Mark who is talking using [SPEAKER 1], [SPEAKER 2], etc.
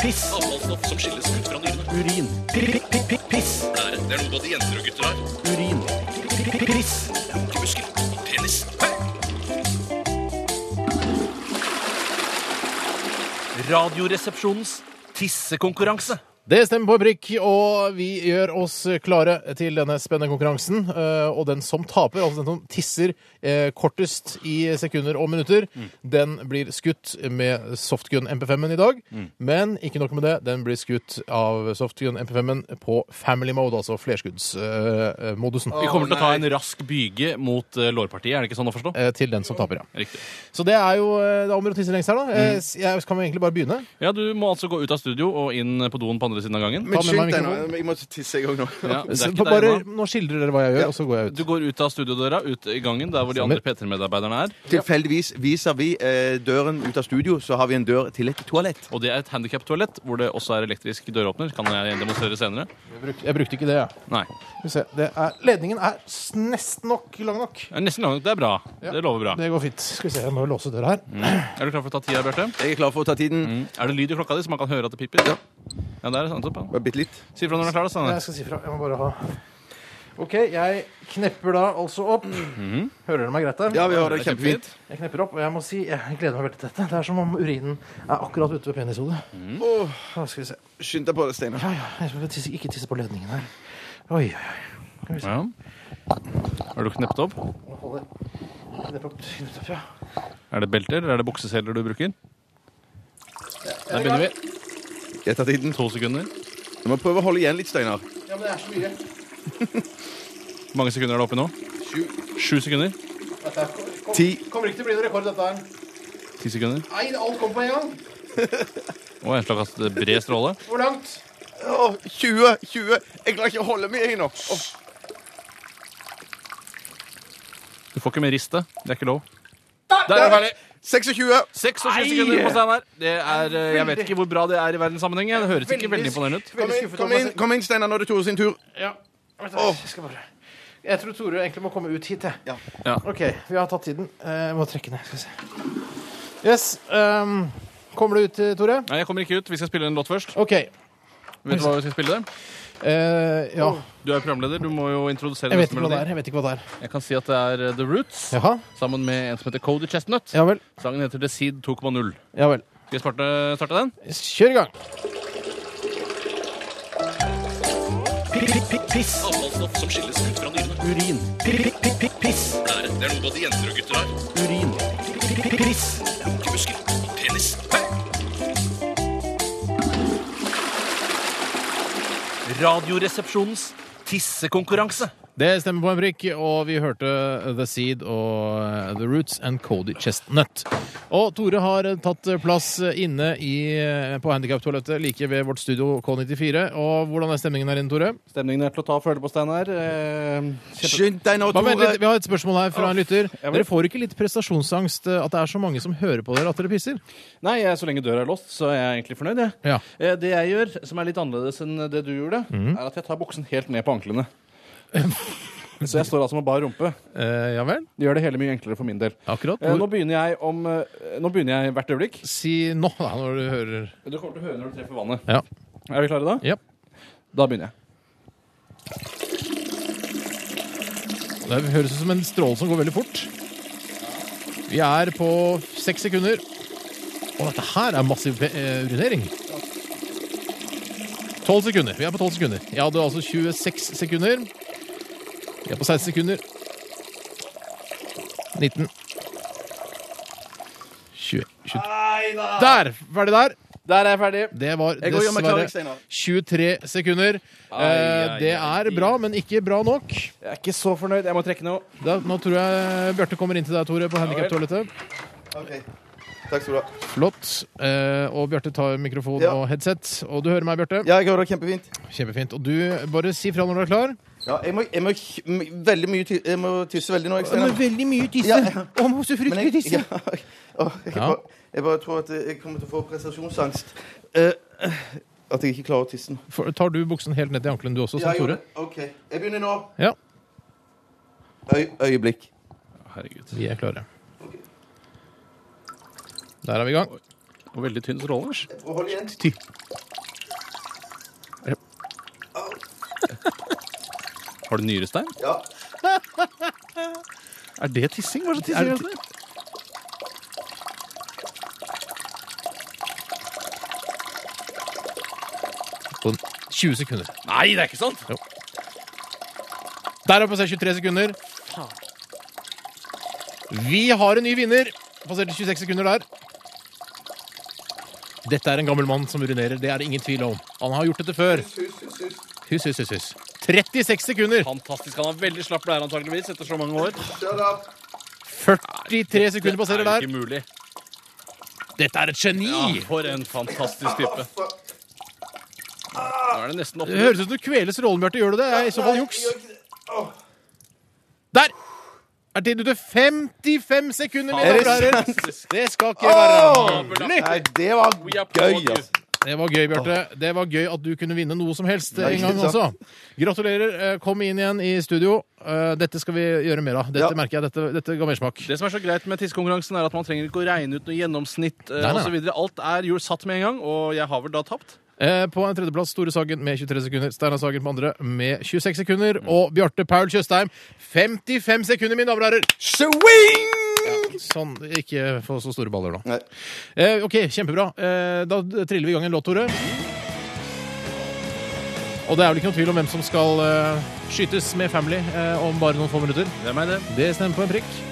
[SPEAKER 1] Piss.
[SPEAKER 2] Avfallsstoff som skilles ut fra nyrene.
[SPEAKER 1] Urin. Piss.
[SPEAKER 2] Det er, det er noe både jenter og gutter har.
[SPEAKER 1] Urin. Piss.
[SPEAKER 2] Lunkemuskel. Penis.
[SPEAKER 3] Radioresepsjonens tissekonkurranse.
[SPEAKER 4] Det stemmer på prikk, og vi gjør oss klare til denne spennende konkurransen. Eh, Og den som taper, altså den som tisser eh, kortest i sekunder og minutter, den blir skutt med softgun MP5-en i dag. Men ikke nok med det, den blir skutt av softgun MP5-en på family mode, altså flerskuddsmodusen.
[SPEAKER 3] Vi kommer til å ta en rask byge mot eh, lårpartiet, er det ikke sånn å forstå?
[SPEAKER 4] Eh, Til den som taper, ja.
[SPEAKER 3] Riktig.
[SPEAKER 4] Så det er jo eh, det er om å gjøre å tisse lengst her, da. Eh, s- Jeg kan vi egentlig bare begynne.
[SPEAKER 3] Ja, du må altså gå ut av studio og inn på doen på andre siden av gangen.
[SPEAKER 4] Ta
[SPEAKER 5] Men
[SPEAKER 4] med meg
[SPEAKER 5] skynd deg nå.
[SPEAKER 4] mikrofonen.
[SPEAKER 5] Jeg må tisse, jeg òg nå.
[SPEAKER 3] Ja, det
[SPEAKER 4] Så
[SPEAKER 3] er ikke deg,
[SPEAKER 4] Bare,
[SPEAKER 3] Emma.
[SPEAKER 4] nå skildrer dere hva jeg gjør, og så går jeg ut.
[SPEAKER 3] Du går ut av studiodøra, ut i gangen, der hvor de andre P3-medarbeiderne er.
[SPEAKER 5] Tilfeldigvis viser vi eh, døren ut av studio, så har vi en dør til et toalett.
[SPEAKER 3] Og det er et handikaptoalett, hvor det også er elektrisk døråpner. Kan jeg demonstrere senere?
[SPEAKER 4] Jeg brukte, jeg brukte ikke det, jeg.
[SPEAKER 3] Nei.
[SPEAKER 4] Skal vi se. Det er, ledningen er s- nesten nok lang nok.
[SPEAKER 3] Det er Nesten langt. Det er bra. Det lover bra.
[SPEAKER 4] Det går fint. Skal vi se, jeg må låse døra her.
[SPEAKER 5] Mm.
[SPEAKER 3] Er du klar for å ta tida, Bjarte?
[SPEAKER 5] Jeg er klar for å ta tiden.
[SPEAKER 4] Mm.
[SPEAKER 3] Er det lyd i klokka di, så man kan høre at det piper? Ja. ja det er sant, sant, sant.
[SPEAKER 5] Bare bitte litt.
[SPEAKER 3] Si ifra når du er klar, da.
[SPEAKER 4] Jeg
[SPEAKER 3] Steinar.
[SPEAKER 4] skal si fra. Jeg må bare ha OK, jeg knepper da altså opp. Hører dere meg greit der?
[SPEAKER 5] Mhm. Ja, vi har det kjempefint.
[SPEAKER 4] Jeg knepper opp, og jeg må si jeg gleder meg veldig til dette. Det er som om urinen er akkurat ute ved penishodet.
[SPEAKER 5] Åh,
[SPEAKER 4] Da skal vi se.
[SPEAKER 5] Skynd deg på det, Steinar.
[SPEAKER 4] Ja, ja, jeg skal tisse, ikke tisse på ledningen her. Oi, oi, oi.
[SPEAKER 3] Ja. Har du knept opp?
[SPEAKER 4] Nå holder jeg det på knytt opp, ja.
[SPEAKER 3] Er det belter eller er det bukseseler du bruker? Der begynner vi.
[SPEAKER 5] Jeg tar tiden.
[SPEAKER 3] To sekunder.
[SPEAKER 5] Du må prøve å holde igjen litt, Steinar.
[SPEAKER 4] Ja, men det er så mye.
[SPEAKER 3] Hvor mange sekunder er det oppi nå?
[SPEAKER 5] Sju,
[SPEAKER 3] Sju sekunder?
[SPEAKER 4] Dette er- kom-
[SPEAKER 5] ti
[SPEAKER 4] Kommer ikke til å bli noen rekord, dette her.
[SPEAKER 3] Ti sekunder?
[SPEAKER 4] Nei, alt kommer på en gang.
[SPEAKER 3] Og en slags bred stråle.
[SPEAKER 4] Hvor langt?
[SPEAKER 5] Åh, 20, 20 Jeg klarer ikke å holde meg, jeg nå. Åh,
[SPEAKER 3] Du får ikke mer riste. Det er ikke lov. Der er det ferdig!
[SPEAKER 5] 26.
[SPEAKER 3] 26 sekunder på Steinar. Det er, eh, Jeg vet ikke hvor bra det er i verdenssammenheng. Det høres ikke veldig imponerende ut.
[SPEAKER 5] Kom
[SPEAKER 4] Veldig
[SPEAKER 5] inn,
[SPEAKER 4] skuffet
[SPEAKER 5] kom
[SPEAKER 4] over meg
[SPEAKER 5] inn, kom inn Steinar, nå er det Tore sin tur.
[SPEAKER 4] Ja. Vent, da,
[SPEAKER 5] Åh.
[SPEAKER 4] jeg skal bare Jeg tror Tore egentlig må komme ut hit, jeg.
[SPEAKER 5] Ja.
[SPEAKER 3] Ja.
[SPEAKER 4] OK, vi har tatt tiden. Eh, Jeg må trekke ned. Skal vi se. Yes. ehm, kommer du ut, eh, Tore?
[SPEAKER 3] Nei, jeg kommer ikke ut. Vi skal spille en låt først.
[SPEAKER 4] OK.
[SPEAKER 3] Vet du hva vi skal spille?
[SPEAKER 4] Eh, ja.
[SPEAKER 3] Du er programleder. Du må jo introdusere
[SPEAKER 4] Jeg vet
[SPEAKER 3] neste
[SPEAKER 4] ikke hva det er.
[SPEAKER 3] melodi.
[SPEAKER 4] Jeg vet ikke hva det er.
[SPEAKER 3] Jeg kan si at det er eh, The Roots
[SPEAKER 4] Jaha.
[SPEAKER 3] sammen med en som heter Cody Chestnut.
[SPEAKER 4] Ja vel.
[SPEAKER 3] Sangen heter The Seed 2.0.
[SPEAKER 4] Ja vel.
[SPEAKER 3] Skal jeg starte, starte den?
[SPEAKER 4] Kjør i gang.
[SPEAKER 1] Piss.
[SPEAKER 2] Avfallsstoff som skilles ut fra nyrene.
[SPEAKER 1] Urin. Piss.
[SPEAKER 2] Det er, det er noe både jenter og gutter har.
[SPEAKER 1] Urin. Piss.
[SPEAKER 2] Lunkemuskel. Penis.
[SPEAKER 3] Radioresepsjonens tissekonkurranse.
[SPEAKER 4] Det stemmer på en prikk, og vi hørte The Seed og eh, The Roots and Cody Chestnut. Og Tore har eh, tatt eh, plass inne i, eh, på handikaptoalettet like ved vårt studio K94. Og hvordan er stemningen her inne, Tore?
[SPEAKER 3] Stemningen er til å ta og føle på, Steinar. Eh,
[SPEAKER 5] Skynd deg nå,
[SPEAKER 4] Bare vent
[SPEAKER 5] Tore.
[SPEAKER 4] litt, Vi har et spørsmål her fra en lytter.
[SPEAKER 3] vel.
[SPEAKER 4] Dere får ikke litt prestasjonsangst eh, at det er så mange som hører på dere at dere pisser?
[SPEAKER 3] Nei, jeg, så lenge døra er låst, så er jeg egentlig fornøyd. Jeg.
[SPEAKER 4] Ja.
[SPEAKER 3] Eh, Det jeg gjør, som er litt annerledes enn det du gjorde, er at jeg tar buksen helt ned på anklene. Så jeg står altså med bar rumpe.
[SPEAKER 4] Eh, ja vel?
[SPEAKER 3] Det gjør det hele mye enklere for min del.
[SPEAKER 4] Akkurat.
[SPEAKER 3] Eh,
[SPEAKER 4] Hvor,
[SPEAKER 3] Nå begynner jeg om eh, Nå begynner jeg hvert øyeblikk.
[SPEAKER 4] Si nå, da, når du hører
[SPEAKER 3] Du kommer til å høre når du treffer vannet.
[SPEAKER 4] Ja.
[SPEAKER 3] Er vi klare da?
[SPEAKER 4] Ja.
[SPEAKER 3] Da begynner jeg.
[SPEAKER 4] Det høres ut som en stråle som går veldig fort. Vi er på seks sekunder. Og dette her er massiv eh, urinering. Tolv sekunder. Vi er på tolv sekunder. Jeg hadde altså 26 sekunder. Vi er på 16 sekunder. 19. 20. 20. Der! Ferdig der.
[SPEAKER 3] Der er jeg ferdig.
[SPEAKER 4] Det var
[SPEAKER 5] Ah. Jeg går og gjør meg klar, jeg,
[SPEAKER 4] dessverre 23
[SPEAKER 5] Steinar.
[SPEAKER 4] sekunder. Eh,
[SPEAKER 3] ai,
[SPEAKER 4] Det
[SPEAKER 3] ai.
[SPEAKER 4] er bra, men ikke bra nok.
[SPEAKER 3] Jeg er ikke så fornøyd. Jeg må trekke nå.
[SPEAKER 4] Da, nå tror jeg Bjarte kommer inn til deg, Tore, på handikaptoalettet.
[SPEAKER 5] Ok. Takk skal du ha.
[SPEAKER 4] Flott. Eh, og Bjarte tar mikrofon
[SPEAKER 5] Ja.
[SPEAKER 4] og headset. Og du hører meg, Bjarte.
[SPEAKER 5] Ja, jeg har det kjempefint.
[SPEAKER 4] Kjempefint. Og du, bare si fra når du er klar.
[SPEAKER 5] Ja, jeg må, jeg må, m- veldig mye ti- jeg må tisse veldig nå, jeg, Steinar.
[SPEAKER 4] veldig mye tisse.
[SPEAKER 5] Ja, ja.
[SPEAKER 4] Om så
[SPEAKER 5] Men jeg, ja, Åh, jeg,
[SPEAKER 4] Ja.
[SPEAKER 5] bare, jeg bare tror at jeg kommer til å få prestasjonsangst. Eh, at jeg ikke klarer å tisse nå.
[SPEAKER 4] Tar du buksen helt ned til ankelen, du også, som
[SPEAKER 5] Ja, jeg gjorde
[SPEAKER 4] Tore?
[SPEAKER 5] det. OK. Jeg begynner nå.
[SPEAKER 4] Ja.
[SPEAKER 5] Øy, øyeblikk.
[SPEAKER 3] Herregud.
[SPEAKER 4] Vi er klare. Der er vi i gang.
[SPEAKER 3] Og veldig tynn stråle. Lars.
[SPEAKER 5] Og hold igjen.
[SPEAKER 4] Ty.
[SPEAKER 3] Har du nyrestein?
[SPEAKER 5] Ja.
[SPEAKER 3] Er det tissing? Hva slags tissing
[SPEAKER 4] Er
[SPEAKER 3] er
[SPEAKER 4] det
[SPEAKER 3] det?
[SPEAKER 4] På 20 sekunder.
[SPEAKER 3] Nei, det er ikke sant!
[SPEAKER 4] Der har vi passert 23 sekunder. Vi har en ny vinner. Passerte 26 sekunder der. Dette er en gammel mann som urinerer. Det er det ingen tvil om. Han har gjort dette før. Hus, hus, hus, hus. 36 sekunder.
[SPEAKER 3] Fantastisk. Han er veldig slapp blære antakeligvis etter så mange år.
[SPEAKER 4] 43 sekunder passerer
[SPEAKER 3] Det er
[SPEAKER 4] der.
[SPEAKER 3] jo ikke mulig.
[SPEAKER 4] Dette er et
[SPEAKER 3] Ja,
[SPEAKER 4] geni!
[SPEAKER 3] for en fantastisk type. Nå er det nesten
[SPEAKER 4] Det
[SPEAKER 3] oppe.
[SPEAKER 4] høres ut som du kveler strålen, Bjarte. Gjør du det? Det er i så fall juks. Der! Er tiden ute? 55 sekunder! mine damer og herrer. Det skal ikke være mulig!
[SPEAKER 5] Nei, det var
[SPEAKER 2] We applaud
[SPEAKER 5] gøy,
[SPEAKER 2] you.
[SPEAKER 5] altså.
[SPEAKER 4] Det var gøy, Bjarte. Det var gøy at du kunne vinne noe som helst eh,
[SPEAKER 5] Nei,
[SPEAKER 4] en gang
[SPEAKER 5] ikke
[SPEAKER 4] også.
[SPEAKER 5] sant.
[SPEAKER 4] Gratulerer. Eh, Kom inn igjen i studio. Eh, Dette skal vi gjøre mer av. Dette
[SPEAKER 5] Ja.
[SPEAKER 4] merker jeg. Dette, dette ga mersmak.
[SPEAKER 3] Det som er så greit med tissekonkurransen, er at man trenger ikke å regne ut noe gjennomsnitt eh,
[SPEAKER 4] Nei, nei,
[SPEAKER 3] og så videre. Alt er jo satt med en gang, og jeg har vel da tapt.
[SPEAKER 4] Eh, På en tredjeplass Store Sagen med 23 sekunder. Steinar Sagen på andre med 26 sekunder. Og Bjarte Paul Tjøstheim 55 sekunder, mine damer og herrer!
[SPEAKER 5] Swing!
[SPEAKER 4] Sånn. Ikke få så store baller nå.
[SPEAKER 5] Nei.
[SPEAKER 4] Eh, OK, kjempebra. Eh, Da triller vi i gang en låt, Tore. Og det er vel ikke noen tvil om hvem som skal eh, skytes med Family eh, om bare noen få minutter.
[SPEAKER 3] Hvem er det?
[SPEAKER 4] Det stemmer på en prikk.